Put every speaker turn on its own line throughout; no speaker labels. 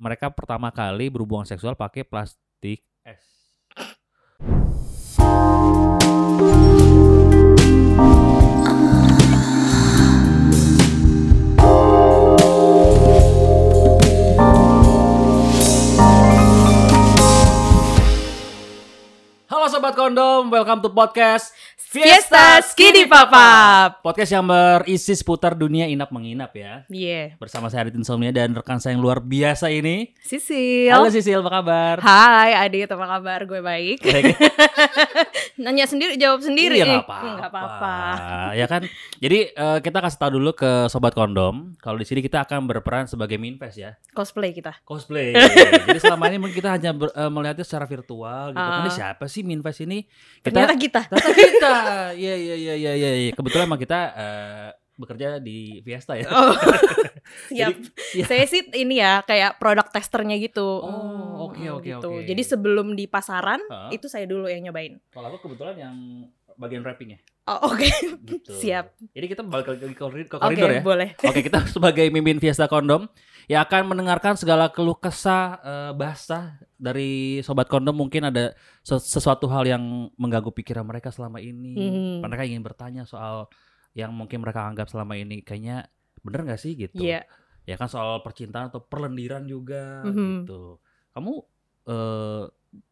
mereka pertama kali berhubungan seksual pakai plastik es. Halo sobat kondom, welcome to podcast
Fiesta Skidi Papap.
Podcast yang berisi seputar dunia inap menginap ya.
Iya.
Bersama saya Adit Insomnia dan rekan saya yang luar biasa ini. Halo
Sisil.
Sisil, apa kabar?
Hai Adit, apa kabar? Gue baik. Nanya sendiri, jawab sendiri.
Iya nggak
Eh, nggak
apa-apa. ya kan. Jadi eh, kita kasih tahu dulu ke sobat kondom. Kalau di sini kita akan berperan sebagai minfest ya,
Cosplay kita.
cosplay. Jadi selama ini mungkin kita hanya ber- eh, melihatnya secara virtual gitu.
Ah.
Ini siapa sih minfest ini? Kita
Ternyata kita.
ternyata kita. Iya iya iya iya iya. iya. Kebetulan emang kita eh, bekerja di Fiesta ya.
Oh,
Jadi,
siap.
iya.
Saya sih ini ya kayak produk testernya gitu.
Oh,
Hmm,
oke,
hmm,
oke,
gitu.
oke.
Jadi sebelum di pasaran
Hah?
itu saya dulu yang nyobain.
Kalau aku kebetulan yang bagian wrapping ya.
Oh, oke.
Gitu.
Siap.
Jadi kita balik lagi ke korid- ke
Oke,
koridor ya.
boleh.
Oke, kita sebagai mimpin Fiesta Kondom ya akan mendengarkan segala keluh kesah eh, basah dari sobat kondom mungkin ada se- sesuatu hal yang mengganggu pikiran mereka selama ini.
Mhm.
Mereka ingin bertanya soal yang mungkin mereka anggap selama ini kayaknya bener nggak sih gitu.
Iya.
Ya kan soal percintaan atau perlendiran juga
Mhm.
gitu. Kamu eh,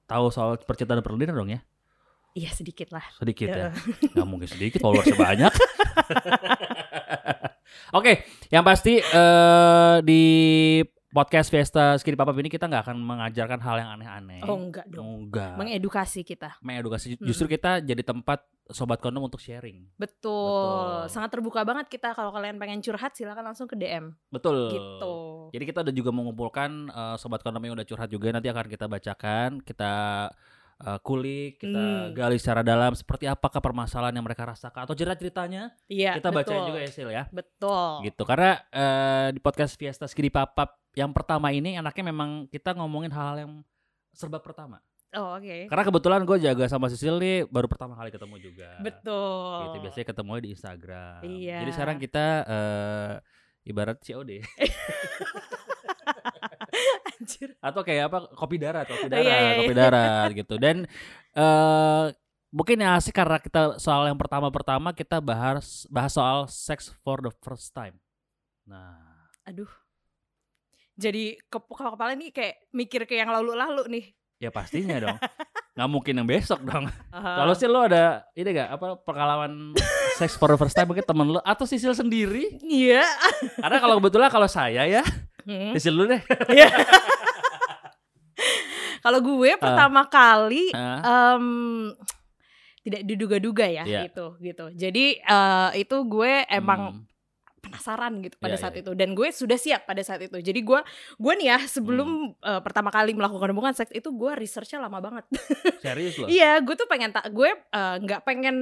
tahu soal percintaan dan perlendiran dong ya?
Iya, sedikit lah.
Sedikit ya.
Iya.
Nggak mungkin sedikit followersnya banyak. Oke, yang pasti eh, di podcast Fiesta Skinny Papa ini kita nggak akan mengajarkan hal yang aneh-aneh.
Oh, enggak dong.
Eh,
Hmm.
Enggak.
Mengedukasi kita.
Mengedukasi.
Mm-mm.
Justru kita jadi tempat sobat kondom untuk sharing.
Betul.
Betul.
Sangat terbuka banget kita kalau kalian pengen curhat silakan langsung ke DM
Betul.
gitu.
Jadi kita udah juga mengumpulkan eh, sobat kondom yang udah curhat juga nanti akan kita bacakan, kita eh, kulik, kita
Hmm.
gali secara dalam seperti apakah permasalahan yang mereka rasakan atau cerita-ceritanya
Iya,
kita bacain
betul.
juga ya Sil ya.
Betul.
gitu karena eh, di podcast Fiesta Skiri Papap yang pertama ini anaknya memang kita ngomongin hal-hal yang serba pertama
Oh, oke.
karena kebetulan gue jaga sama Sisil nih baru pertama kali ketemu juga
Betul.
gitu biasanya ketemu di Instagram
Iya.
jadi sekarang kita eh, ibarat COD
Anjir.
atau kayak apa kopi darat kopi
Iya,
darat
iya, iya.
kopi darat gitu dan eh mungkin yang asik karena kita soal yang pertama pertama kita bahas bahas soal sex for the first time nah
Aduh. Jadi ke kepala kepala ini kayak mikir ke yang lalu-lalu nih.
Ya pastinya dong. Nggak mungkin yang besok dong.
Ah.
Kalau sih lo ada ini gak apa pengalaman sex for the first time mungkin temen lo atau Sisil sendiri?
Iya.
Karena kalau kebetulan kalau saya ya
Hmm.
Sisil dulu deh.
Iya. Kalau gue pertama kali
Ah,
em, tidak diduga-duga ya
Iya.
gitu gitu. Jadi eh, itu gue emang
hmm,
penasaran gitu
Iya,
pada saat
iya.
itu dan gue sudah siap pada saat itu jadi gue gue nih ya sebelum
Hmm.
eh, pertama kali melakukan hubungan seks itu gue researchnya lama banget
serius lo.
iya gue tuh pengen tak gue eh, nggak pengen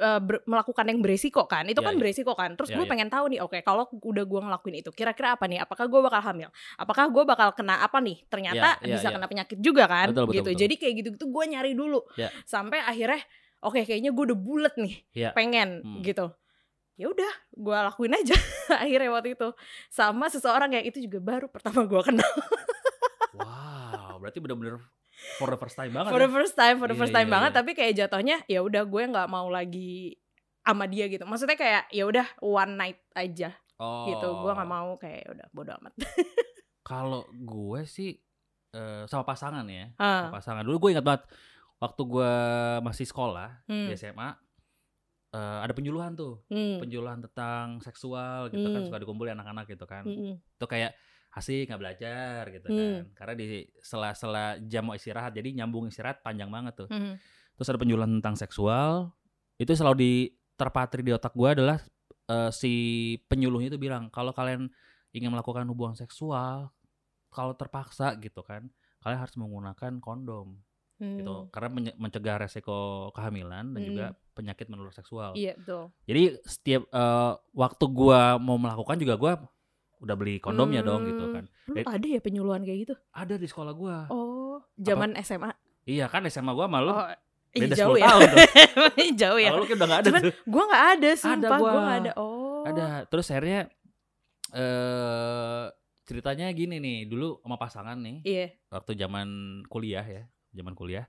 eh, ber- melakukan yang beresiko kan
Iya,
itu kan
iya.
beresiko kan terus
Iya,
gue
iya.
pengen tahu nih oke kalau udah gue ngelakuin itu kira-kira apa nih apakah gue bakal hamil apakah gue bakal kena apa nih ternyata
Iya, iya,
bisa
iya.
kena penyakit juga kan
Betul, betul,
gitu
betul.
jadi kayak gitu gitu gue nyari dulu
Iya.
sampai akhirnya oke kayaknya gue udah bulet nih
Iya.
pengen
Hmm.
gitu ya udah gue lakuin aja akhirnya waktu itu sama seseorang yang itu juga baru pertama gue kenal
Wow, berarti bener-bener for the first time banget.
for
ya.
the first time for the
Iya,
first time
iya,
banget
iya.
tapi kayak jatuhnya ya udah gue nggak mau lagi sama dia gitu maksudnya kayak ya udah one night aja
Oh.
gitu gue nggak mau kayak ya udah bodo amat
Kalau gue sih eh, sama pasangan ya.
Ah,
Sama Pasangan dulu gue ingat banget waktu gue masih sekolah
hmm,
di SMA eh, ada penjuluhan tuh,
hmm,
penjuluhan tentang seksual gitu kan
Hmm.
suka dikumpulin anak-anak gitu kan.
hmm, hmm.
itu kayak asik nggak belajar gitu kan
Hmm.
karena di sela-sela jam mau istirahat jadi nyambung istirahat panjang banget tuh
Hmm.
terus ada penjualan tentang seksual itu selalu di terpatri di otak gue adalah eh, si penyuluhnya itu bilang kalau kalian ingin melakukan hubungan seksual kalau terpaksa gitu kan kalian harus menggunakan kondom
hmm.
gitu karena menye- mencegah resiko kehamilan dan juga penyakit menular seksual
Hmm. iya betul
jadi setiap eh, waktu gua mau melakukan juga gua udah beli kondomnya dong gitu
Hmm.
kan.
lu
Eh.
ada ya penyuluhan kayak gitu
Ada di sekolah gua.
oh zaman SMA
Iya kan SMA gua malu.
oh ih,
beda
jauh
10
ya
tahun tuh.
jauh ya
Kalau lu kan udah gak ada
Cuman
tuh.
gue nggak ada sumpah gue
gua.
nggak ada oh
Ada. Terus akhirnya eh ceritanya gini nih dulu sama pasangan nih
Iya.
waktu zaman kuliah ya zaman kuliah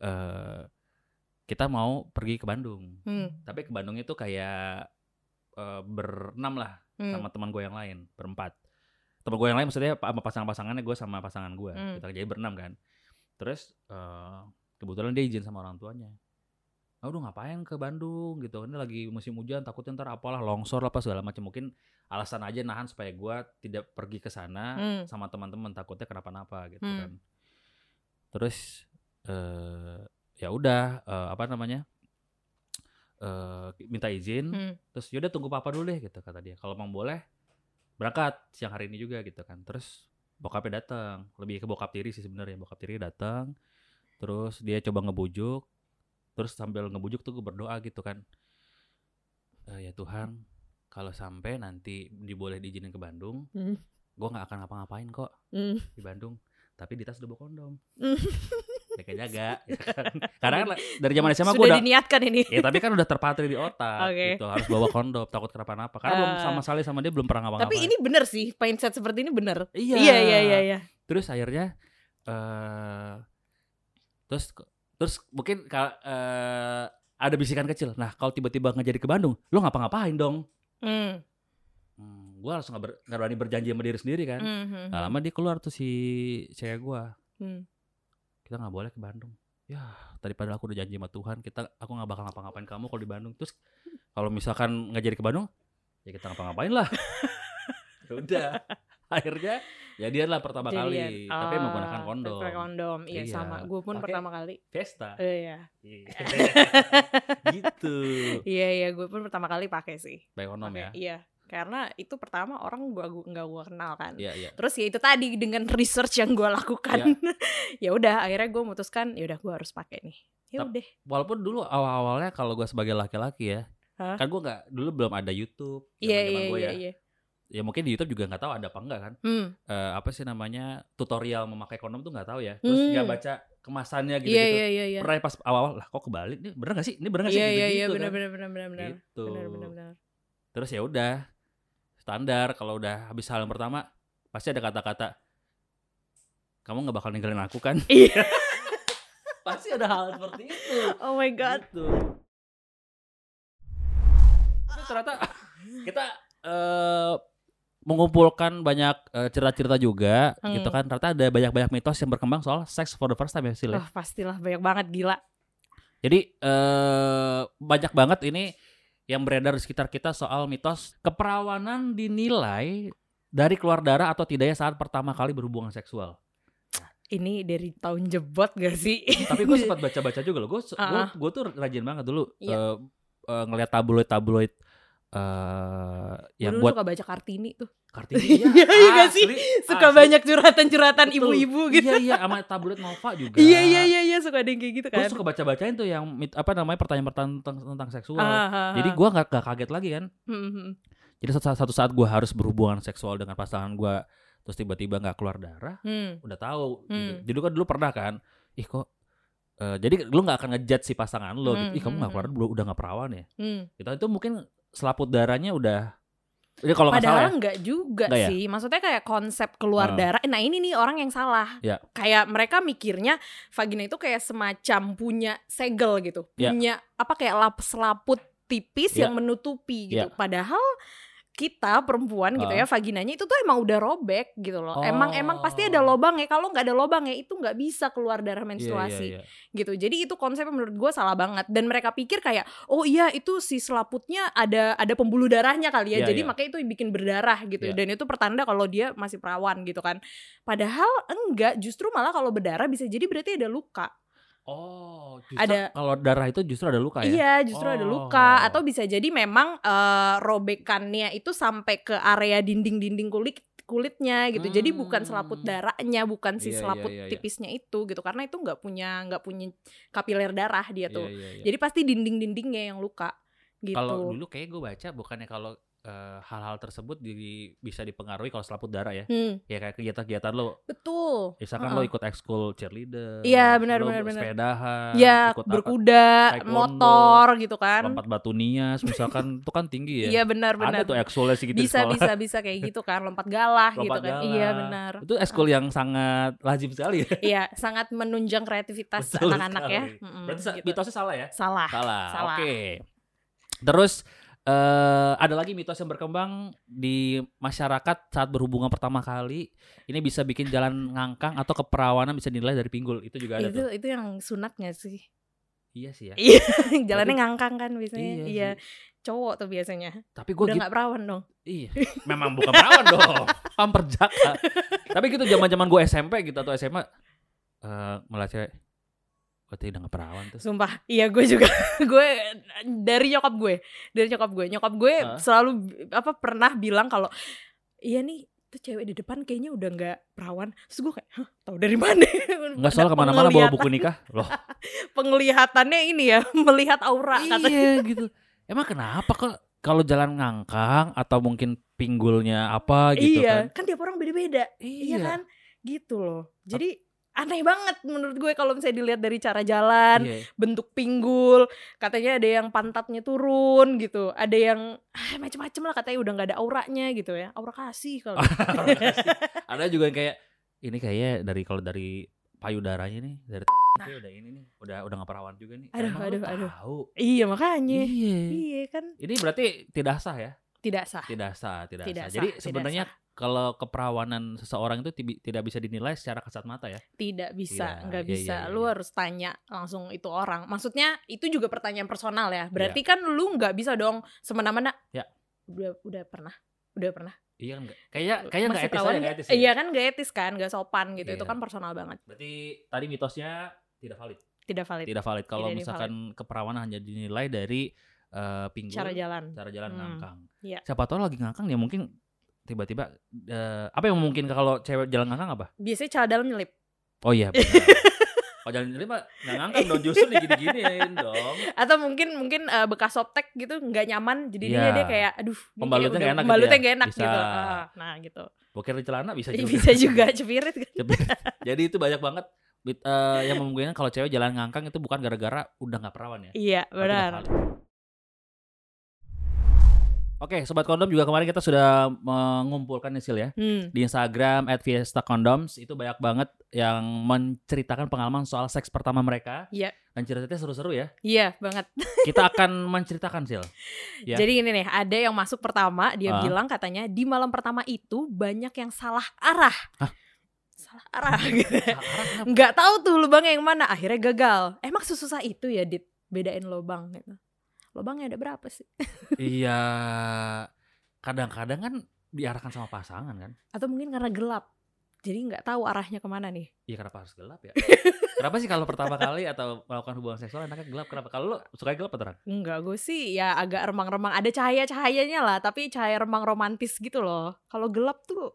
eh kita mau pergi ke Bandung
Hmm.
tapi ke Bandung itu kayak eh, berenam lah
hmm,
sama teman gue yang lain berempat teman gue yang lain maksudnya pa- sama pasangan-pasangannya gue sama pasangan gue
Hmm.
kita jadi berenam kan terus eh, kebetulan dia izin sama orang tuanya Aduh ngapain ke Bandung gitu Ini lagi musim hujan takutnya ntar apalah longsor lah apa segala macam Mungkin alasan aja nahan supaya gue tidak pergi ke sana
hmm.
sama teman-teman takutnya kenapa-napa gitu
Hmm.
kan. Terus eh ya udah eh, apa namanya? eh minta izin,
Hmm.
terus yaudah tunggu papa dulu deh gitu kata dia. Kalau emang boleh berangkat siang hari ini juga gitu kan. Terus bokapnya datang, lebih ke bokap tiri sih sebenarnya. Bokap tiri datang, terus dia coba ngebujuk, terus sambil ngebujuk tuh gue berdoa gitu kan. "Eh, ya Tuhan, kalau sampai nanti diboleh diizinin ke Bandung,
Hmm.
gue nggak akan ngapa-ngapain kok
Hmm.
di Bandung tapi di tas udah bawa kondom
Hmm.
jaga-jaga ya kan? karena kan dari zaman SMA gue
Sudah
udah
diniatkan ini.
ya tapi kan udah terpatri di otak
Oke.
gitu harus bawa kondom takut kenapa-napa karena belum
Eh.
sama sekali sama dia belum pernah ngapa-ngapain
Tapi ini bener sih, mindset seperti ini bener.
iya
Iya, iya, iya, iya.
terus akhirnya eh terus terus mungkin ka- eh, ada bisikan kecil nah kalau tiba-tiba nggak jadi ke Bandung lo ngapa-ngapain dong
Hmm.
hmm, gue harus nggak ber- nggak berani berjanji sama diri sendiri kan
Hmm, hmm,
nah, lama dia keluar tuh si cewek gue
hmm.
kita nggak boleh ke Bandung ya tadi padahal aku udah janji sama Tuhan kita aku nggak bakal ngapa-ngapain kamu kalau di Bandung terus kalau misalkan nggak jadi ke Bandung ya kita ngapa-ngapain lah Ya udah akhirnya jadian lah pertama
Jadian.
kali tapi
Ah,
menggunakan kondom
Pakai kondom, iya,
Iya.
sama. Gue pun
Pakai- ah.
pertama kali.
pesta
Iya,
gitu
iya, iya. Gue pun pertama kali pakai sih.
pakai kondom
Pakai,
ya
Iya, karena itu pertama orang gua gua- nggak gua kenal kan.
iya iya
Terus ya itu tadi dengan research yang gua lakukan, ya udah akhirnya gua memutuskan, ya udah gua harus pakai nih. Ya
Tap-
udah.
walaupun dulu awal-awalnya kalau gue sebagai laki-laki ya
Hah?
kan gue nggak dulu belum ada YouTube
Iya,
zaman-zaman
iya,
gua
iya,
ya
iya.
ya mungkin di YouTube juga nggak tahu ada apa enggak kan
Hmm.
eh, apa sih namanya tutorial memakai kondom tuh nggak tahu ya terus nggak
Hmm.
baca kemasannya gitu,
Iya, iya, iya, iya.
pernah pas awal-awal lah kok kebalik nih bener gak sih ini bener gak sih
Iya,
gitu
iya, iya,
gitu
benar
kan
benar benar benar benar.
gitu
Benar benar benar.
terus ya udah standar kalau udah habis hal yang pertama pasti ada kata-kata kamu nggak bakal ninggalin aku kan
Iya.
pasti ada hal seperti itu
Oh my god.
gitu. Itu ternyata kita eh, mengumpulkan banyak eh, cerita-cerita juga
Hmm.
gitu kan ternyata ada banyak-banyak mitos yang berkembang soal sex for the first time ya Sil, ya.
Wah, pastilah banyak banget gila.
Jadi eh banyak banget ini yang beredar di sekitar kita soal mitos keperawanan dinilai dari keluar darah atau tidaknya saat pertama kali berhubungan seksual.
Ini dari tahun jebot gak sih?
Tapi gue sempat baca-baca juga loh. Gue
Ah.
gue tuh rajin banget dulu
Iya.
eh, eh, ngelihat tabloid-tabloid eh yang
Dulu
buat
suka baca Kartini tuh.
Kartini ya,
Iya, iya gak sih?
asli,
Suka
asli.
banyak curhatan-curhatan
Ah, Betul.
ibu-ibu gitu.
Iya iya sama tabloid Nova juga.
Iya, iya, iya, iya, suka ada yang kayak gitu
Gue
kan.
suka baca-bacain tuh yang mit- apa namanya pertanyaan-pertanyaan tentang, tentang seksual.
Ah, ah,
Jadi
ah.
gue nggak nggak kaget lagi kan.
Hmm, hmm,
Jadi satu, satu saat gue harus berhubungan seksual dengan pasangan gue, terus tiba-tiba nggak keluar darah,
hmm.
udah tahu.
Hmm.
Jadi kan dulu pernah kan, ih kok. eh, jadi lu nggak akan ngejat si pasangan lo, gitu.
Hmm,
ih kamu nggak
hmm,
keluar darah, udah nggak perawan ya.
hmm.
Gitu. Itu mungkin selaput darahnya udah. Ini kalau nggak salah ya.
Padahal enggak juga
Nggak ya?
sih. Maksudnya kayak konsep
Ah.
keluar darah. Nah, ini nih orang yang salah.
Ya.
Kayak mereka mikirnya vagina itu kayak semacam punya segel gitu.
Ya.
Punya apa kayak lap selaput tipis
Ya.
yang menutupi gitu.
Ya.
Padahal kita perempuan gitu
Ah.
ya vaginanya itu tuh emang udah robek gitu loh. Emang emang pasti
Oh.
ada lubang ya. Kalau nggak ada lubang ya itu nggak bisa keluar darah
Iya, iya,
menstruasi
iya.
gitu. Jadi itu konsep yang menurut gue salah banget dan mereka pikir kayak oh iya itu si selaputnya ada ada pembuluh darahnya kali ya.
Iya,
Jadi
iya.
makanya itu bikin berdarah gitu
Iya.
dan itu pertanda kalau dia masih perawan gitu kan. Padahal enggak, justru malah kalau berdarah bisa jadi berarti ada luka.
Oh, justru
Ada-
kalau darah itu justru ada luka ya?
Iya, justru ada
Oh.
luka atau bisa jadi memang eh, robekannya itu sampai ke area dinding-dinding kulit kulitnya gitu. Jadi bukan selaput
Hmm.
darahnya, bukan si
Iya, iya,
selaput
iya, iya.
tipisnya itu gitu karena itu nggak punya nggak punya kapiler darah dia tuh.
Iya, iya, iya.
Jadi pasti dinding-dindingnya yang luka gitu.
Kalau dulu kayak gue baca bukannya kalau eh, hal-hal tersebut di- bisa dipengaruhi kalau selaput darah ya.
Hmm,
Ya kayak kegiatan-kegiatan lo,
betul.
misalkan lo ikut ekskul cheerleader,
Iya, benar,
lo
benar, benar.
sepedahan,
Ya,
ikut apa,
berkuda,
Eh, taekwondo,
motor gitu kan.
lompat batu nias misalkan itu kan tinggi ya.
Iya
Ada
benar-benar.
tuh ekskulnya segitu di
Bisa
sekolah.
bisa bisa kayak gitu kan, lompat galah gitu
Lompat
kan.
galah.
Iya benar.
Itu ekskul yang sangat lazim sekali ya.
Iya, sangat menunjang kreativitas
Betul
anak-anak ya.
sekali.
Mm-mm,
Berarti sa-
gitu.
mitosnya salah ya?
Salah.
Salah.
salah.
Oke. Terus eh ada lagi mitos yang berkembang di masyarakat saat berhubungan pertama kali. Ini bisa bikin jalan ngangkang atau keperawanan bisa dinilai dari pinggul. Itu juga ada
Itu
tuh.
itu yang sunat gak sih?
Iya sih ya. Tapi-
Jalannya ngangkang kan biasanya. Iya.
Iya
Cowok tuh biasanya.
Tapi gue
Udah
gitu.
nggak perawan dong.
Iya. Memang bukan perawan dong. Pamperjaka. Tapi gitu zaman-zaman gue SMP gitu atau SMA eh malah cewek berarti udah gak perawan tuh.
Sumpah, iya gue juga. gue dari nyokap gue, dari nyokap gue. Nyokap gue
Hah?
selalu bi- apa pernah bilang kalau iya nih tuh cewek di depan kayaknya udah nggak perawan. Terus gue kayak, "Hah, tahu dari mana?
Enggak
Ada
soal kemana-mana bawa
penglihatan-
buku nikah. Loh.
Penglihatannya ini ya, melihat aura katanya.
Iya gitu. Emang kenapa kok kalau jalan ngangkang atau mungkin pinggulnya apa gitu
iya,
kan?
kan. tiap orang beda-beda. Iya. kan? Gitu loh. Jadi aneh banget menurut gue kalau misalnya dilihat dari cara jalan,
Iya.
bentuk pinggul katanya ada yang pantatnya turun gitu ada yang ah, macem-macem lah katanya udah nggak ada auranya gitu ya aura kasih kalau
Ada juga yang kayak ini kayaknya dari kalau dari payudaranya nih dari kayaknya udah ini nih udah udah nggak perawan juga nih.
Nah. Aduh,
Emang lu
aduh, aduh.
tahu?
iya makanya
Iya.
iya kan
Ini berarti tidak sah ya?
tidak sah
Tidak sah, tidak,
Tidak
sah.
sah,
Jadi
tidak
sebenarnya kalau keperawanan seseorang itu tibi- tidak bisa dinilai secara kasat mata ya.
tidak bisa
Iya,
nggak
iya,
bisa
iya,
lu
iya.
harus tanya langsung itu orang maksudnya itu juga pertanyaan personal ya berarti kan lu nggak bisa dong semena-mena
Iya. Ya.
udah udah pernah udah pernah
Iya kan? nggak- Kayaknya kayaknya nggak etis
Masih
aja
perawan
nggak etis.
nggak?
ya.
iya kan nggak etis kan nggak sopan gitu
Iya.
itu kan personal banget
Berarti tadi mitosnya tidak valid.
tidak valid
tidak valid kalau
Tidak
misalkan keperawanan hanya dinilai dari eh, pinggul
cara jalan
cara jalan
Hmm,
ngangkang
iya.
siapa tahu lagi ngangkang ya mungkin tiba-tiba eh, apa yang mungkin kalau cewek jalan ngangkang apa
biasanya cara dalam nyelip
oh iya benar. kalau jalan sendiri mah nggak ngangkang dong justru digini-giniin dong
atau mungkin mungkin eh, bekas sobtek gitu nggak nyaman jadi
Iya.
dia dia kayak aduh ini
Pembalutnya nggak
kayak udah-
enak gitu
pembalutnya
ya?
nggak enak
Bisa.
gitu Ah, nah gitu
boker di celana bisa juga
Iya, bisa juga cepirit kan
jadi itu banyak banget mit- eh, yang memungkinkan kalau cewek jalan ngangkang itu bukan gara-gara udah nggak perawan ya
iya
Tapi nggak
benar
valid. Oke, sobat kondom juga kemarin kita sudah mengumpulkan hasil ya.
hmm.
di Instagram @fiestacondoms itu banyak banget yang menceritakan pengalaman soal seks pertama mereka.
Iya.
Dan ceritanya seru-seru ya.
iya banget
Kita akan menceritakan Sil. Ya.
jadi ini nih ada yang masuk pertama dia
Ah.
bilang katanya di malam pertama itu banyak yang salah arah salah arah gitu
Salah arah kenapa?
nggak tahu tuh lubangnya yang mana akhirnya gagal emang sesusah itu ya dit bedain lubang gitu lubangnya ada berapa sih
iya. Kadang-kadang kan diarahkan sama pasangan kan.
atau mungkin karena gelap jadi nggak tahu arahnya kemana nih
Iya kenapa harus gelap ya? kenapa sih kalau pertama kali atau melakukan hubungan seksual enaknya gelap? Kenapa? Kalau lo suka gelap atau terang?
Enggak, gue sih ya agak remang-remang. Ada cahaya-cahayanya lah, tapi cahaya remang romantis gitu loh. Kalau gelap tuh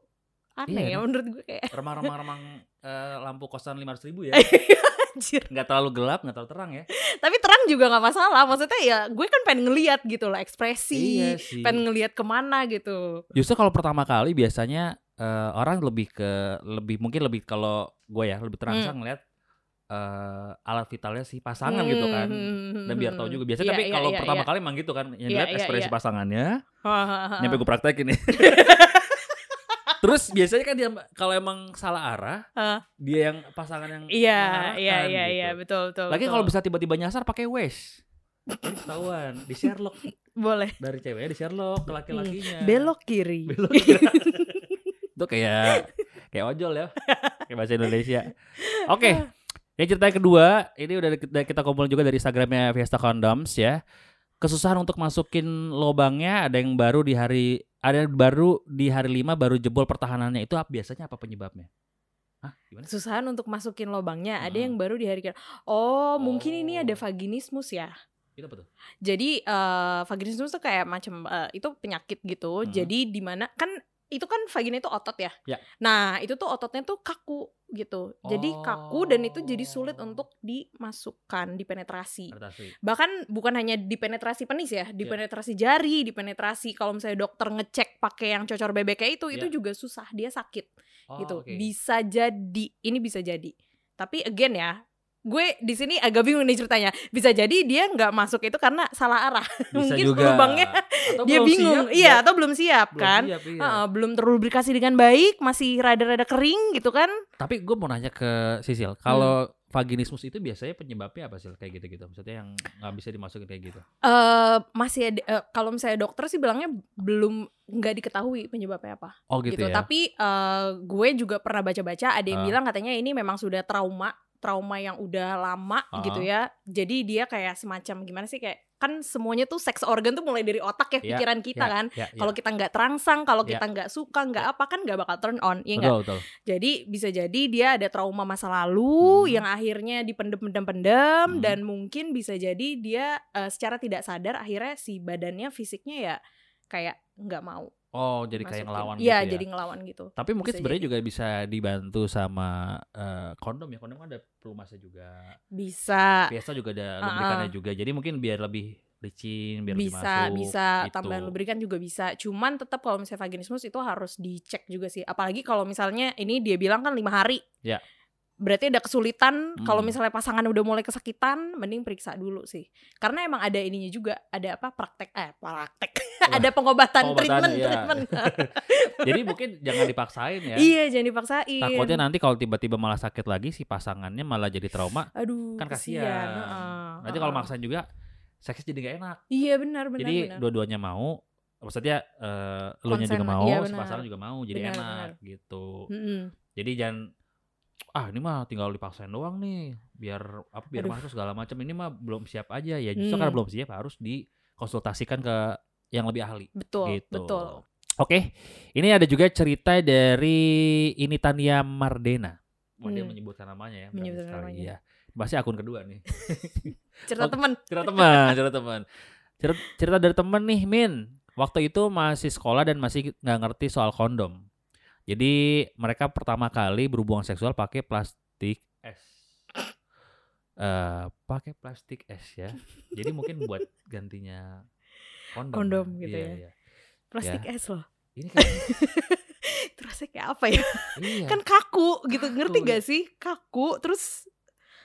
Iya,
aneh ya
nih.
menurut gue kayak
Remang-remang-remang eh, lampu kosan 500 ribu ya.
anjir.
Nggak terlalu gelap, nggak terlalu terang ya.
Tapi terang juga nggak masalah. Maksudnya ya gue kan pengen ngeliat gitu loh ekspresi.
Iya sih.
Pengen ngeliat kemana gitu.
Justru kalau pertama kali biasanya eh, orang lebih ke lebih mungkin lebih kalau gue ya lebih
Hmm.
terangsang ngeliat eh, alat vitalnya si pasangan gitu kan
Hmm,
dan biar tahu juga biasanya tapi kalau pertama kali emang gitu kan yang
Iya,
dilihat
iya,
ekspresi
iya.
pasangannya
kali
nyampe gue praktekin nih terus biasanya kan dia kalau emang salah arah
Hah.
dia yang pasangan yang
Iya,
mengarahkan
iya, iya,
gitu.
iya, betul, betul.
lagi
betul.
kalau bisa tiba-tiba nyasar pakai wash Jadi ketahuan di Sherlock
boleh
dari ceweknya di Sherlock ke laki-lakinya
belok kiri.
Iya. belok kira. itu kayak kayak ojol ya kayak bahasa Indonesia oke
Iya,
Ini cerita yang kedua ini udah kita- kita kumpulin juga dari Instagramnya Fiesta Condoms ya kesusahan untuk masukin lobangnya ada yang baru di hari ada yang baru di hari lima baru jebol pertahanannya itu apa biasanya apa penyebabnya Hah, gimana
Susahan untuk masukin lobangnya. Ada
Hmm.
yang baru di hari ke- Oh, mungkin ini ada
Oh.
vaginismus ya.
itu apa tuh
Jadi eh vaginismus tuh kayak macam eh, itu penyakit gitu.
Hmm.
Jadi di mana kan itu kan vagina itu otot ya.
Ya.
Nah, itu tuh ototnya tuh kaku gitu. Jadi kaku dan itu jadi sulit
Oh.
untuk dimasukkan, dipenetrasi.
Penetrasi.
Bahkan bukan hanya dipenetrasi penis ya, dipenetrasi jari, dipenetrasi kalau misalnya dokter ngecek pakai yang cocor bebeknya itu itu
Ya.
juga susah, dia sakit
Oh,
gitu.
oke.
Bisa jadi, ini bisa jadi. Tapi again ya, gue di sini agak bingung nih ceritanya. Bisa jadi dia nggak masuk itu karena salah arah.
Bisa
mungkin
juga.
lubangnya
Atau
dia
belum
bingung,
siap,
iya
belum-
atau belum siap
belum
kan?
siap, iya.
Heeh, belum terlubrikasi dengan baik, masih rada-rada kering gitu kan?
Tapi gue mau nanya ke Sisil, kalau
Hmm.
vaginismus itu biasanya penyebabnya apa sih kayak gitu-gitu? Maksudnya yang nggak bisa dimasukin kayak gitu?
eh masih ada, eh, kalau misalnya dokter sih bilangnya belum nggak diketahui penyebabnya apa
Oh gitu,
gitu.
ya.
Tapi eh, gue juga pernah baca-baca ada yang
Ah.
bilang katanya ini memang sudah trauma, trauma yang udah lama
Ah.
gitu ya. Jadi dia kayak semacam gimana sih kayak kan semuanya tuh seks organ tuh mulai dari otak ya
Iya,
pikiran kita
Ya,
kan.
ya, ya.
Kalau kita nggak terangsang, kalau
Iya.
kita nggak suka, nggak apa kan nggak bakal turn on, iya nggak?
betul, betul.
Jadi bisa jadi dia ada trauma masa lalu
Hmm.
yang akhirnya dipendem-pendem-pendem
Hmm.
dan mungkin bisa jadi dia eh, secara tidak sadar akhirnya si badannya fisiknya ya kayak nggak mau.
Oh jadi kayak
masukin.
ngelawan
Iya,
gitu ya?
jadi ngelawan gitu.
Tapi mungkin
Bisa
sebenarnya
jadi.
juga bisa dibantu sama eh, kondom ya. Kondom kan ada pelumasnya juga.
Bisa
Biasa juga ada
Ah,
lubrikannya juga. Jadi mungkin biar lebih licin, biar lebih
bisa
masuk,
bisa
gitu.
tambahan lubrikan juga bisa. Cuman tetap kalau misalnya vaginismus itu harus dicek juga sih. Apalagi kalau misalnya ini dia bilang kan lima hari.
Iya.
Berarti ada kesulitan kalau
Hmm.
misalnya pasangan udah mulai kesakitan, mending periksa dulu sih. Karena emang ada ininya juga, ada apa praktek eh praktek. ada
Pengobatan,
pengobatan, treatment,
iya.
treatment.
Jadi mungkin jangan dipaksain ya.
iya, jangan dipaksain.
Takutnya nanti kalau tiba-tiba malah sakit lagi si pasangannya malah jadi trauma.
Aduh,
Kan kasihan.
heeh,
Nanti kalau
heeh.
maksain juga seks jadi gak enak.
Iya, Ah, benar benar
jadi
benar.
dua-duanya mau. Maksudnya eh, lu nya
Konsen,
juga mau,
iya,
si
benar.
pasangan juga mau. Jadi
Benar,
enak gitu.
Mm-mm.
Jadi jangan ah ini mah tinggal dipaksain doang nih biar apa biar
Aduh.
masuk segala macam ini mah belum siap aja ya justru
Hmm.
karena belum siap harus dikonsultasikan ke yang lebih ahli
Betul,
gitu.
betul.
Oke, ini ada juga cerita dari ini Tania Mardena. Wah, dia
Hmm.
menyebutkan namanya ya. berani
Menyebutkan
sekali,
namanya.
Ya. Masih akun kedua nih.
Cerita
Oke.
teman.
Cerita teman, cerita teman. Cerita, cerita dari teman nih, Min. Waktu itu masih sekolah dan masih nggak ngerti soal kondom. Jadi mereka pertama kali berhubungan seksual pakai plastik es. Eh, pakai plastik es ya. Jadi mungkin buat gantinya kondom.
Kondom gitu
Iya,
ya.
iya.
Plastik es loh.
Ini kayaknya,
Itu rasanya kayak apa ya?
iya.
Kan kaku gitu,
Kaku,
ngerti
iya.
gak sih? Kaku, terus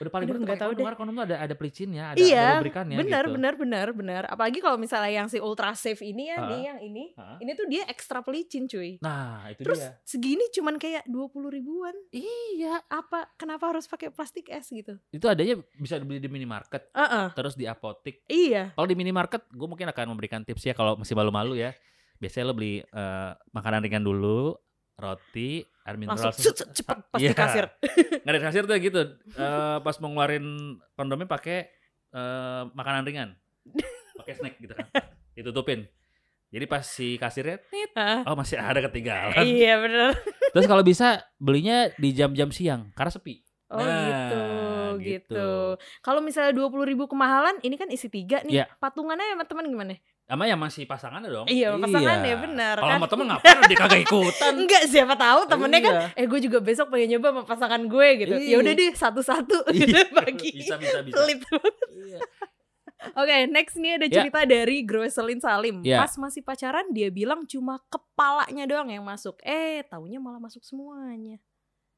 Udah paling bener
Aduh, nggak
nggak
tahu
tahu
deh.
Kondom tuh ada ada pelicinnya, ada,
Iya,
ada lubrikannya
benar
gitu.
benar benar benar apalagi kalau misalnya yang si ultra safe ini ya
Ha-ha.
dia yang ini
Ha-ha.
ini tuh dia ekstra pelicin cuy
Nah, itu
terus
dia.
segini cuman kayak 20 ribuan
Iya,
apa kenapa harus pakai plastik es gitu
itu adanya bisa dibeli di minimarket,
Heeh,
terus di apotek.
iya
Kalau di minimarket, gue mungkin akan memberikan tips ya kalau masih malu-malu ya. Biasanya lo beli eh, makanan ringan dulu, roti, air mineral.
langsung
se-
sut, sut, cepet
sa-
pas
iya.
di kasir
Nggak ada di kasir tuh gitu. Eh, pas mau ngeluarin kondomnya pakai eh, makanan ringan, pakai snack gitu kan, ditutupin. Jadi pas si kasirnya,
Heeh.
oh masih ada ketinggalan.
iya benar
Terus kalau bisa belinya di jam-jam siang karena sepi.
oh
Nah,
gitu
gitu.
gitu kalau misalnya 20 ribu kemahalan ini kan isi tiga nih
Iya.
patungannya sama teman gimana
Sama yang masih pasangannya dong.
Iya, pasangan ya, benar
Kalau
kan.
sama temen ngapain dia kagak ikutan.
enggak siapa tahu temennya kan
Iya.
eh gue juga besok pengen nyoba sama pasangan gue gitu
Iya.
ya udah deh satu-satu gitu
Iya,
bagi
Bisa bisa bisa.
Pelit
Iya.
Oke, next nih ada
Ya.
cerita dari Groselin Salim.
Ya.
Pas masih pacaran dia bilang cuma kepalanya doang yang masuk. Eh, taunya malah masuk semuanya.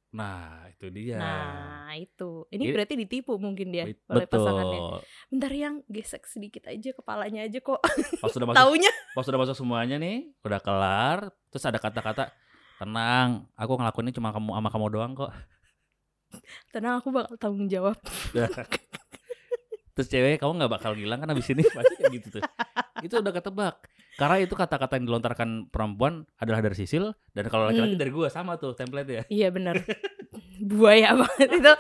Nah, itu dia.
Nah, iya, itu. Ini
Jadi-
berarti ditipu mungkin dia
Bet- Ya.
oleh
Betul.
pasangannya. Bentar yang gesek sedikit aja kepalanya aja
Pas
kok.
sudah masuk,
taunya
pas sudah masuk semuanya nih, udah kelar, terus ada kata-kata tenang, aku ngelakuinnya cuma kamu sama kamu doang kok.
tenang aku bakal tanggung jawab.
Terus cewek kamu nggak bakal hilang kan abis ini pasti kayak gitu tuh. Itu udah ketebak. Karena itu kata-kata yang dilontarkan perempuan adalah dari Sisil dan kalau laki-laki
Hmm.
dari gua sama tuh template ya.
Iya benar. Buaya banget itu.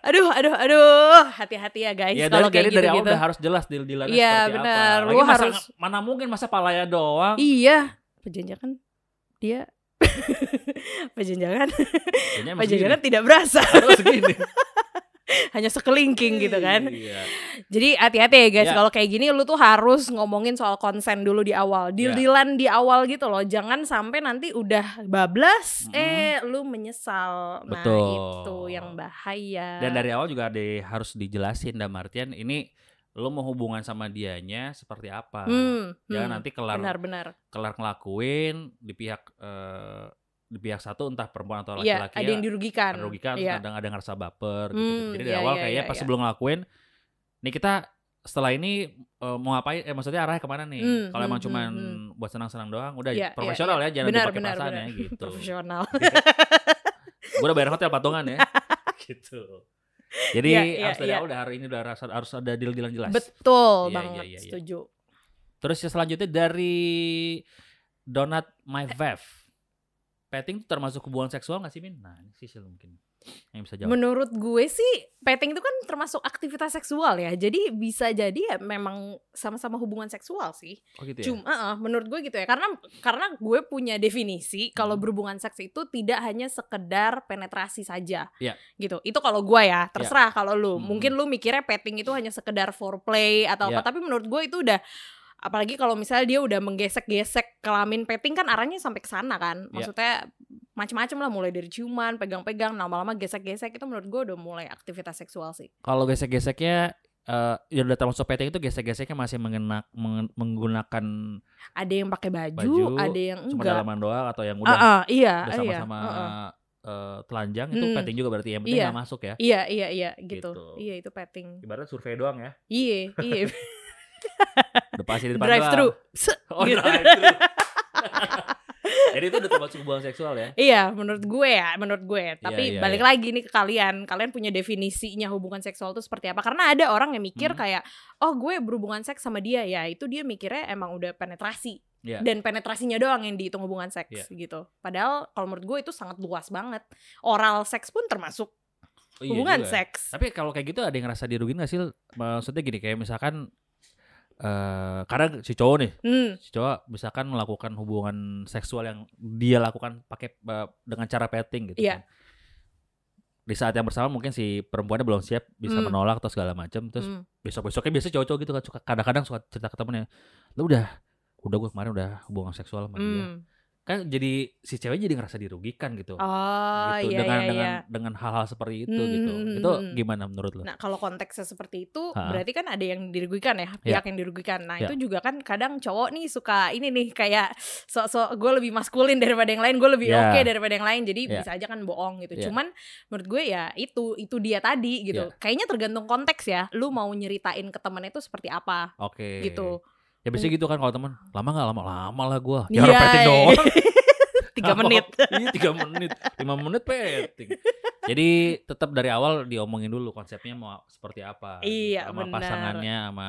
Aduh, aduh, aduh. Hati-hati ya guys.
Iya,
kalau
dari,
kayak
jadi dari awal
gitu-gitu.
udah harus jelas deal-dealannya
Iya,
seperti
benar.
apa.
Lu
Lagi masa,
harus-
mana mungkin masa palanya doang.
Iya. Pejenjakan dia pejenjakan
Kayaknya emang
pejenjakan
segini.
tidak berasa.
Harus segini.
hanya sekelingking gitu kan
Iya.
jadi hati-hati ya guys
Ya.
kalau kayak gini lu tuh harus ngomongin soal konsen dulu di
Ya.
awal deal dealan di awal gitu loh jangan sampai nanti udah bablas
Mm-mm.
eh lu menyesal nah
Betul.
itu yang bahaya
Dan dari awal juga ada harus dijelasin dan Martian ini lo mau hubungan sama dianya seperti apa.
Hmm,
Jangan
hmm.
nanti kelar
benar-benar
kelar ngelakuin di pihak eh, di pihak satu entah perempuan atau
Iya,
laki-laki ya,
ada yang dirugikan.
merugikan terus
Iya.
kadang ada ngerasa baper gitu.
Hmm,
Jadi dari
iya,
awal
iya,
kayaknya
iya,
pas
iya.
sebelum ngelakuin nih kita setelah ini eh, mau ngapain eh maksudnya arahnya kemana nih?
Hmm,
Kalau emang
hmm,
cuman
hmm,
buat senang-senang doang udah
Iya, iya,
profesional ya jangan
Benar,
dipakai
benar,
perasaan ya
benar.
gitu.
Profesional.
Gue udah bayar hotel patungan ya. gitu. Jadi
Iya, iya,
harus dari
iya.
awal udah hari ini udah harus, harus ada deal dealan jelas.
Betul
Iya, iya,
banget,
iya, iya.
setuju.
Terus yang selanjutnya dari Donat My Vev. Petting itu termasuk hubungan seksual gak sih Min? Nah ini sih mungkin yang bisa jawab.
Menurut gue sih, petting itu kan termasuk aktivitas seksual ya. Jadi bisa jadi ya memang sama-sama hubungan seksual sih.
oh gitu ya?
Cuma eh, menurut gue gitu ya. Karena karena gue punya definisi kalau
Hmm.
berhubungan seks itu tidak hanya sekedar penetrasi saja.
Iya.
Gitu. Itu kalau gue ya, terserah kalau lu.
Hmm.
Mungkin lu mikirnya petting itu hanya sekedar foreplay atau
Iya.
apa, tapi menurut gue itu udah apalagi kalau misalnya dia udah menggesek-gesek kelamin petting kan arahnya sampai ke sana
Iya.
kan. Maksudnya macem-macem lah mulai dari ciuman, pegang-pegang, lama-lama gesek-gesek itu menurut gue udah mulai aktivitas seksual sih.
Kalau gesek-geseknya eh ya udah termasuk petting itu gesek-geseknya masih mengena, mengen- menggunakan
Ada yang pakai baju,
Baju,
ada yang
cuma
enggak.
dalaman doang atau yang
Ah,
udah,
ah, iya,
udah
iya.
sama-sama
ah, ah.
eh, telanjang itu
Hmm.
petting juga berarti yang penting
Iya.
nggak masuk ya.
Iya iya iya gitu.
Gitu.
Iya itu petting.
Ibarat survei doang ya.
Iya iya.
Udah pasti di depan
drive
doang.
thru. Se-
Oh,
Gitu.
drive thru. Jadi itu udah termasuk hubungan seksual ya.
Iya menurut gue ya menurut gue. Tapi
iya,
balik
iya.
lagi nih ke kalian. Kalian punya definisinya hubungan seksual itu seperti apa? Karena ada orang yang mikir
Hmm.
kayak oh gue berhubungan seks sama dia ya itu dia mikirnya emang udah penetrasi.
Iya.
Dan penetrasinya doang yang dihitung hubungan seks
Iya.
gitu. Padahal kalau menurut gue itu sangat luas banget. Oral seks pun termasuk
Oh, iya
hubungan
juga.
seks.
Tapi kalau kayak gitu ada yang ngerasa dirugin gak sih? Maksudnya gini kayak misalkan eh karena si cowok nih,
Hmm.
si cowok misalkan melakukan hubungan seksual yang dia lakukan pakai eh, dengan cara petting gitu
Iya.
kan. Di saat yang bersama mungkin si perempuannya belum siap bisa
Hmm.
menolak atau segala macam. Terus
hmm.
besok-besoknya biasanya cowok-cowok gitu kan suka kadang-kadang suka cerita ke temennya, "Lu udah udah gue kemarin udah hubungan seksual sama dia."
Hmm.
Kan jadi si cewek jadi ngerasa dirugikan gitu.
Oh
gitu
iya
dengan
iya
dengan
iya.
dengan hal-hal seperti itu gitu.
Hmm, hmm,
Itu
hmm.
gimana menurut lo?
Nah, kalau konteksnya seperti itu,
Ha-ha.
berarti kan ada yang dirugikan ya, pihak yang dirugikan. Nah,
Ya.
itu juga kan kadang cowok nih suka ini nih kayak sok-sok gue lebih maskulin daripada yang lain, gue lebih
Ya.
oke daripada yang lain. Jadi
Ya.
bisa aja kan bohong gitu.
Ya.
Cuman menurut gue ya itu itu dia tadi gitu. Kayaknya tergantung konteks ya. Lu mau nyeritain ke temennya itu seperti apa
Oke.
gitu.
Ya biasanya gitu kan kalau teman lama nggak lama lama lah gue.
Iya.
Jarang petting doang.
Tiga
Lama.
menit.
Iya tiga menit, lima menit petting. Jadi tetap dari awal diomongin dulu konsepnya mau seperti apa. gitu
Iya,
Sama
benar.
pasangannya, sama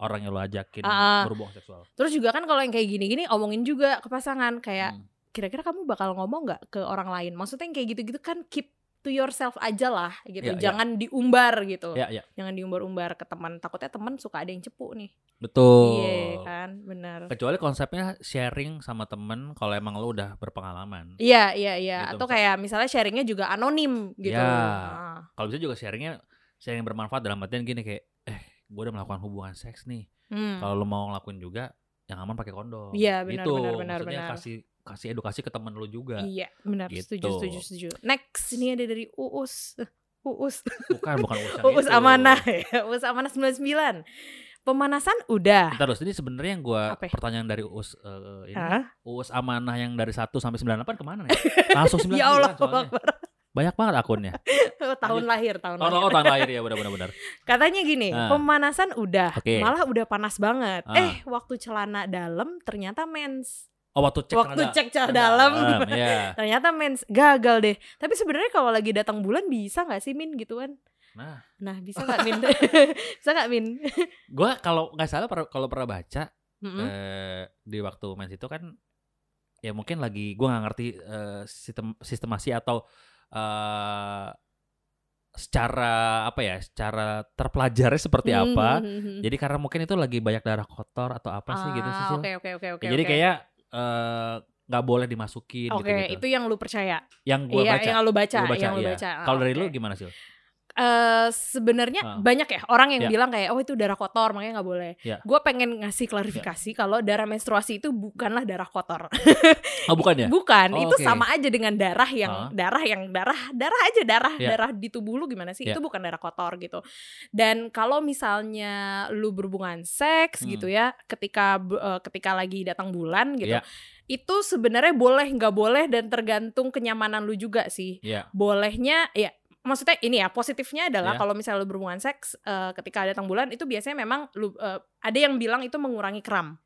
orang yang lo ajakin
Ah, ah.
berhubungan seksual.
Terus juga kan kalau yang kayak gini-gini omongin juga ke pasangan kayak
Hmm.
kira-kira kamu bakal ngomong nggak ke orang lain? Maksudnya yang kayak gitu-gitu kan keep to yourself aja lah gitu.
Ya, ya.
Jangan diumbar gitu.
Ya ya,
Jangan diumbar-umbar ke teman. Takutnya teman suka ada yang cepu nih.
betul.
Iya kan, benar.
Kecuali konsepnya sharing sama temen kalau emang lo udah berpengalaman.
Iya, iya, iya.
Gitu,
Atau kayak misalnya sharingnya juga anonim gitu.
Ya.
Nah,
Kalau bisa juga sharingnya sharing yang bermanfaat dalam artian gini kayak, eh gue udah melakukan hubungan seks nih.
hmm.
kalau lo mau ngelakuin juga yang aman pakai kondom
Iya, benar,
gitu
benar, benar,
maksudnya
benar.
kasih kasih edukasi ke temen lo juga
Iya, benar. Setuju,
Gitu.
setuju, setuju. Next, ini ada dari Uus. Eh, Uus.
bukan bukan urusan
Uus
itu.
Amanah. ya. Uus Amanah 99. Pemanasan udah.
Ntar terus ini sebenarnya yang gue
Apa ya?
pertanyaan dari Uus eh, ini
Hah?
Uus amanah yang dari 1 sampai 98 kemana nih? Langsung 99
Ya Allah,
soalnya. Banyak banget akunnya.
tahun lahir, tahun
Oh,
lahir.
oh, tahun lahir ya benar-benar.
Katanya gini,
Ah.
pemanasan udah,
Oke.
malah udah panas banget.
Ah.
Eh, waktu celana dalam ternyata mens.
Oh, waktu cek
waktu
celana-
cek celana
celana
dalam
Iya.
ternyata mens gagal deh. Tapi sebenarnya kalau lagi datang bulan bisa nggak sih min gituan?
Nah.
Nah, bisa nggak min? bisa nggak min?
Gue kalau nggak salah per- kalau pernah baca
Mm-mm.
eh, di waktu mens itu kan ya mungkin lagi gue nggak ngerti eh, sistem sistemasi atau eh, secara apa ya secara terpelajarnya seperti
Hmm,
apa
Mm-mm.
jadi karena mungkin itu lagi banyak darah kotor atau apa sih gitu sih
Ah, Oke oke oke oke.
jadi
oke.
kayak eh, nggak boleh dimasukin gitu,
Oke,
gitu
itu yang lu percaya.
yang gue
iya,
baca
yang lu baca,
Gua baca,
yang lu
iya.
baca. Ah,
kalau dari
oke.
lu gimana sih
eh, sebenarnya
Ah.
banyak ya orang
Ya.
yang bilang kayak oh itu darah kotor makanya nggak boleh.
Ya.
Gue pengen ngasih klarifikasi kalau darah menstruasi itu bukanlah darah kotor.
Oh bukan ya?
Bukan,
Oh,
itu
oke.
sama aja dengan darah yang
Ah.
darah yang darah darah aja darah
Ya.
darah di tubuh lu gimana sih?
Ya.
Itu bukan darah kotor gitu. Dan kalau misalnya lu berhubungan seks
Hmm.
gitu ya, ketika bu- eh, ketika lagi datang bulan gitu,
Ya.
itu sebenarnya boleh nggak boleh dan tergantung kenyamanan lu juga sih.
Ya.
Bolehnya ya maksudnya ini ya positifnya
Ya.
adalah kalau misalnya lu berhubungan seks eh, ketika datang bulan itu biasanya memang lu eh, ada yang bilang itu mengurangi kram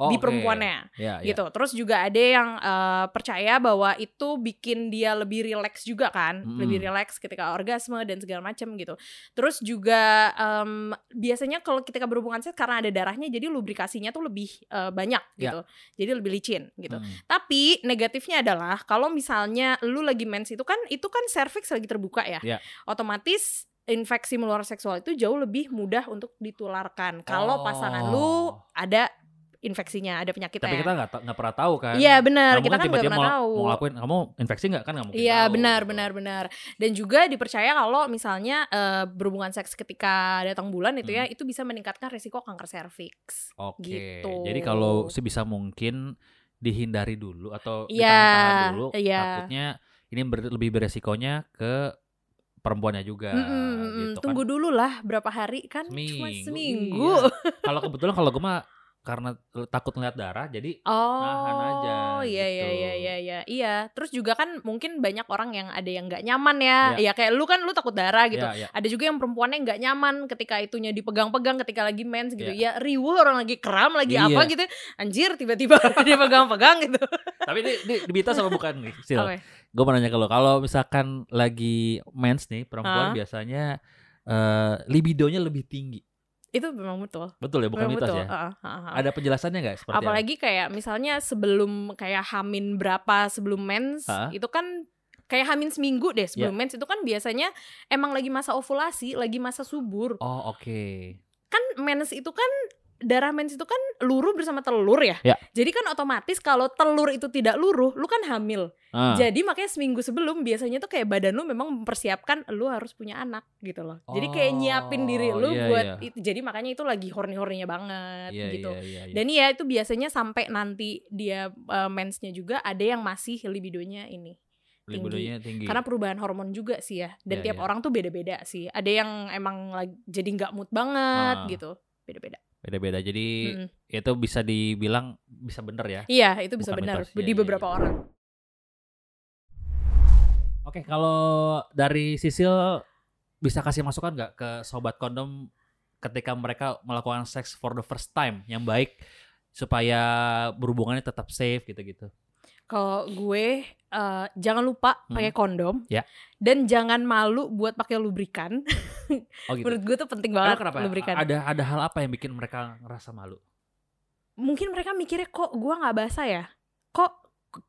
Oh,
di
oke.
perempuannya
Ya, ya.
gitu. Terus juga ada yang eh, percaya bahwa itu bikin dia lebih rileks juga kan,
Mm-mm.
lebih rileks ketika orgasme dan segala macam gitu. Terus juga em, biasanya kalau ketika berhubungan seks karena ada darahnya jadi lubrikasinya tuh lebih eh, banyak
Ya.
gitu. Jadi lebih licin gitu.
Hmm.
Tapi negatifnya adalah kalau misalnya lu lagi mens itu kan itu kan cervix lagi terbuka ya.
Iya.
Otomatis infeksi menular seksual itu jauh lebih mudah untuk ditularkan kalau
Oh.
pasangan lu ada infeksinya, ada penyakitnya.
Tapi kita nggak ta- nggak pernah tahu kan?
ya. Iya benar,
Nggak
kita
mungkin
kan nggak
tiba-tiba
pernah
mau,
tahu.
mau ngelakuin kamu infeksi nggak kan nggak mungkin.
Iya
tahu,
benar
gitu.
benar benar. Dan juga dipercaya kalau misalnya eh, berhubungan seks ketika datang bulan itu
Hmm.
ya itu bisa meningkatkan risiko kanker serviks.
Oke.
Gitu.
Jadi kalau sebisa mungkin dihindari dulu atau
Iya,
ditahan-tahan dulu
iya.
takutnya ini ber- lebih beresikonya ke perempuannya juga gitu kan.
Tunggu dulu lah berapa hari kan cuma
Seminggu,
seminggu.
iya. Kalau kebetulan kalau gue mah karena takut ngeliat darah jadi Nahan aja,
Oh, iya iya
gitu.
iya iya iya. Iya, terus juga kan mungkin banyak orang yang ada yang nggak nyaman ya.
Iya.
Ya kayak lu kan lu takut darah gitu.
ya, ya.
ada juga yang perempuannya nggak nyaman ketika itunya dipegang-pegang ketika lagi mens gitu
Iya.
ya riuh orang lagi kram lagi
Iya.
apa gitu anjir tiba-tiba dipegang-pegang gitu
Tapi ini, ini dibita sama bukan nih. Sil.
Apa ya?
Gue mau nanya ke lo, kalau misalkan lagi mens nih perempuan
Hah?
biasanya eh, libidonya lebih tinggi.
itu memang betul
Betul ya, bukan
memang
mitos ya.
betul Heeh, heeh, heeh.
Ada penjelasannya nggak seperti apa?
apalagi kayak misalnya sebelum kayak hamin berapa sebelum mens
Hah?
itu kan kayak hamin seminggu deh
Iya.
sebelum mens itu kan biasanya emang lagi masa ovulasi lagi masa subur
Oh, oke.
kan mens itu kan darah mens itu kan luruh bersama telur ya.
Ya.
Jadi kan otomatis kalau telur itu tidak luruh, lu kan hamil.
Ah.
Jadi makanya seminggu sebelum biasanya tuh kayak badan lu memang mempersiapkan lu harus punya anak gitu loh. Jadi kayak
Oh,
nyiapin diri lu
iya,
buat
iya.
itu. Jadi makanya itu lagi horny-hornynya banget
Iya,
gitu.
iya, iya, iya.
Dan ya itu biasanya sampai nanti dia eh, mensnya juga ada yang masih libidonya ini.
libidonya tinggi.
Karena perubahan hormon juga sih ya. Dan
Iya, iya.
tiap orang tuh beda-beda sih. Ada yang emang lagi, jadi nggak mood banget
Ah.
gitu. Beda-beda.
beda-beda. Jadi
Mm-mm.
itu bisa dibilang bisa bener ya.
Iya, itu bisa
Bukan
benar
mitos. Iya,
di
iya,
beberapa
iya.
orang.
Oke, kalau dari Sisil bisa kasih masukan nggak ke sobat kondom ketika mereka melakukan seks for the first time yang baik supaya berhubungannya tetap safe gitu-gitu.
Kalau gue eh, jangan lupa
Hmm.
pakai kondom
Ya.
dan jangan malu buat pakai lubrikan.
Oh gitu.
Menurut gue tuh penting
Emang
banget
kenapa? ya?
lubrikan.
Ada ada hal apa yang bikin mereka ngerasa malu?
Mungkin mereka mikirnya kok gue nggak basah ya? Kok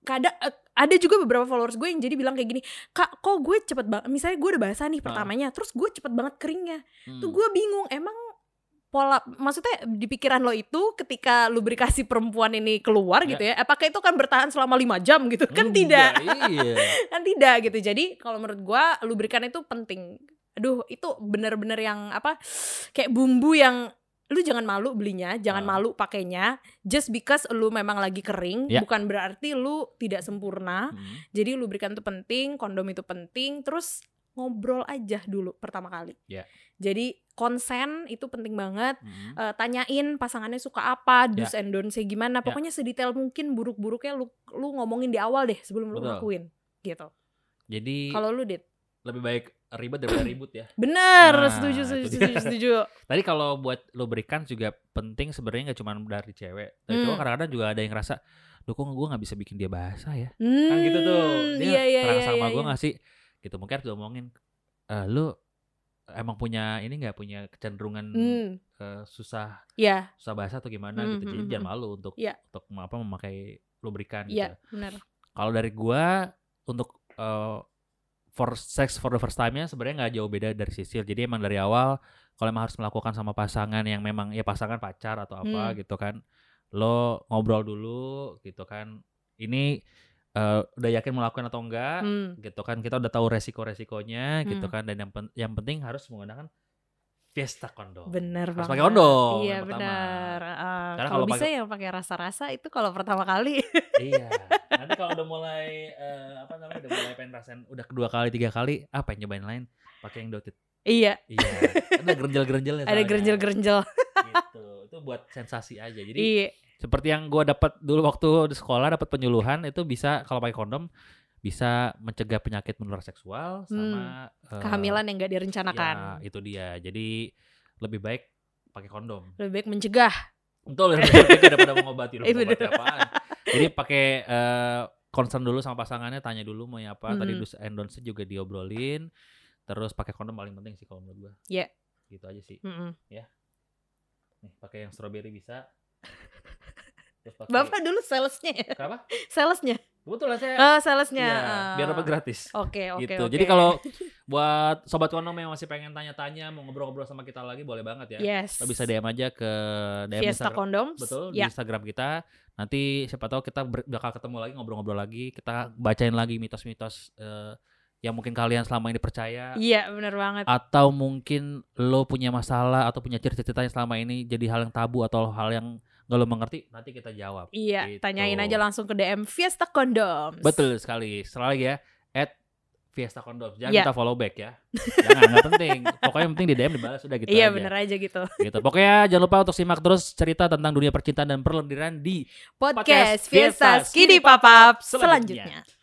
kada eh, ada juga beberapa followers gue yang jadi bilang kayak gini, kak kok gue cepet banget. Misalnya gue udah basah nih pertamanya, terus gue cepet banget keringnya. Tuh
Hmm.
gue bingung emang pola maksudnya di pikiran lo itu ketika lubrikasi perempuan ini keluar gitu ya apakah itu kan bertahan selama lima jam gitu kan
Hmm,
tidak
Iya.
kan tidak gitu jadi kalau menurut gua lubrikan itu penting aduh itu bener-bener yang apa kayak bumbu yang lu jangan malu belinya jangan
Ah.
malu pakainya just because lu memang lagi kering
Ya.
bukan berarti lu tidak sempurna
Hmm.
jadi lubrikan itu penting kondom itu penting terus ngobrol aja dulu pertama kali
Ya.
jadi konsen itu penting banget
Hmm.
Eh, tanyain pasangannya suka apa, do's and don'ts-nya gimana.
Ya.
Pokoknya sedetail mungkin buruk-buruknya lu lu ngomongin di awal deh sebelum lu
Betul.
lakuin gitu.
Jadi
Kalau lu dit.
lebih baik ribet daripada ribut ya.
Bener,
Nah,
setuju
itu
setuju
dia.
setuju setuju.
Tadi kalau buat lubrikan juga penting sebenarnya nggak cuma dari cewek. Dari
Hmm.
cowok kadang-kadang juga ada yang ngerasa, "Duh kok gue nggak bisa bikin dia basah ya?"
Hmm,
Kan gitu tuh. Dia
Iya iya
terasa
iya.
sama
iya,
gue
iya.
nggak sih? Gitu mungkin harus diomongin. "Eh, lu emang punya ini nggak punya kecenderungan
Hmm,
eh, susah
iya,
susah basah atau gimana
Hmm,
gitu. Jadi
hmm,
jangan
hmm.
malu untuk
Iya.
untuk apa memakai lubrikan
iya,
gitu.
benar.
Kalau dari gua untuk eh, for sex for the first time-nya sebenarnya nggak jauh beda dari sisil. Jadi emang dari awal kalau emang harus melakukan sama pasangan yang memang ya pasangan pacar atau apa
Hmm.
gitu kan, lo ngobrol dulu gitu kan. Ini eh, udah yakin melakukan atau enggak
Hmm.
gitu kan kita udah tahu resiko-resikonya gitu
Hmm.
kan dan yang pen- yang penting harus menggunakan Fiesta kondom.
Bener
Harus
banget.
pakai kondom
Iya
yang pertama.
bener. Ah,
Karena
kalau
kalau
bisa yang pakai rasa-rasa itu kalau pertama kali.
iya. Nanti kalau udah mulai eh, apa namanya udah mulai pengen rasain udah kedua kali tiga kali apa yang nyobain lain pakai yang dotit.
iya.
Iya. ya. Ada gerenjel-gerenjelnya.
Ada
soalnya.
gerenjel-gerenjel.
Gitu. Itu buat sensasi aja. Jadi eh,
Iya.
seperti yang gua dapat dulu waktu di sekolah dapat penyuluhan itu bisa kalau pakai kondom bisa mencegah penyakit menular seksual sama eh,
Hmm. Kehamilan kan? yang gak direncanakan.
Ya, itu dia. Jadi lebih baik pakai kondom.
Lebih baik mencegah.
Betul, lebih baik daripada mengobati lu
Iya,
mengobati
bener.
apaan. Jadi pakai eh, concern dulu sama pasangannya, tanya dulu mau yang apa. Tadi
Mhm.
dus and don'ts juga diobrolin. Terus pakai kondom paling penting sih kalau menurut gua.
Iya.
Gitu aja sih.
Mm-mm.
Nih, pakai yang strawberry bisa. Terus pakai
Bapak dulu salesnya ya?
Kenapa?
Salesnya.
Betul lah saya.
Oh,
Iya,
salesnya. Ah.
biar dapat gratis.
Oke, oke,
gitu.
oke.
Jadi kalau buat sobat konom yang masih pengen tanya-tanya, mau ngobrol-ngobrol sama kita lagi boleh banget ya.
yes.
Lo bisa DM aja ke DM
Fiesta
Instagram.
kondoms.
Betul, di
Ya.
Instagram kita. Nanti siapa tahu kita ber- bakal ketemu lagi, ngobrol-ngobrol lagi. Kita bacain lagi mitos-mitos eh, yang mungkin kalian selama ini percaya.
Iya, bener banget.
Atau mungkin lo punya masalah atau punya cerita-cerita yang selama ini jadi hal yang tabu atau hal yang nggak lo mengerti, nanti kita jawab.
Iya,
Gitu.
tanyain aja langsung ke DM Fiesta Kondoms.
Betul sekali. Sekali lagi ya, at Fiesta Kondom. Jangan
Iya.
kita follow back ya. Jangan, nggak penting. Pokoknya yang penting di DM dibalas sudah gitu
iya,
aja.
bener aja gitu.
Gitu. Pokoknya jangan lupa untuk simak terus cerita tentang dunia percintaan dan perlendiran di Podcast
Podcast, Fiesta
Fiesta
Skidi Papap
selanjutnya.
selanjutnya.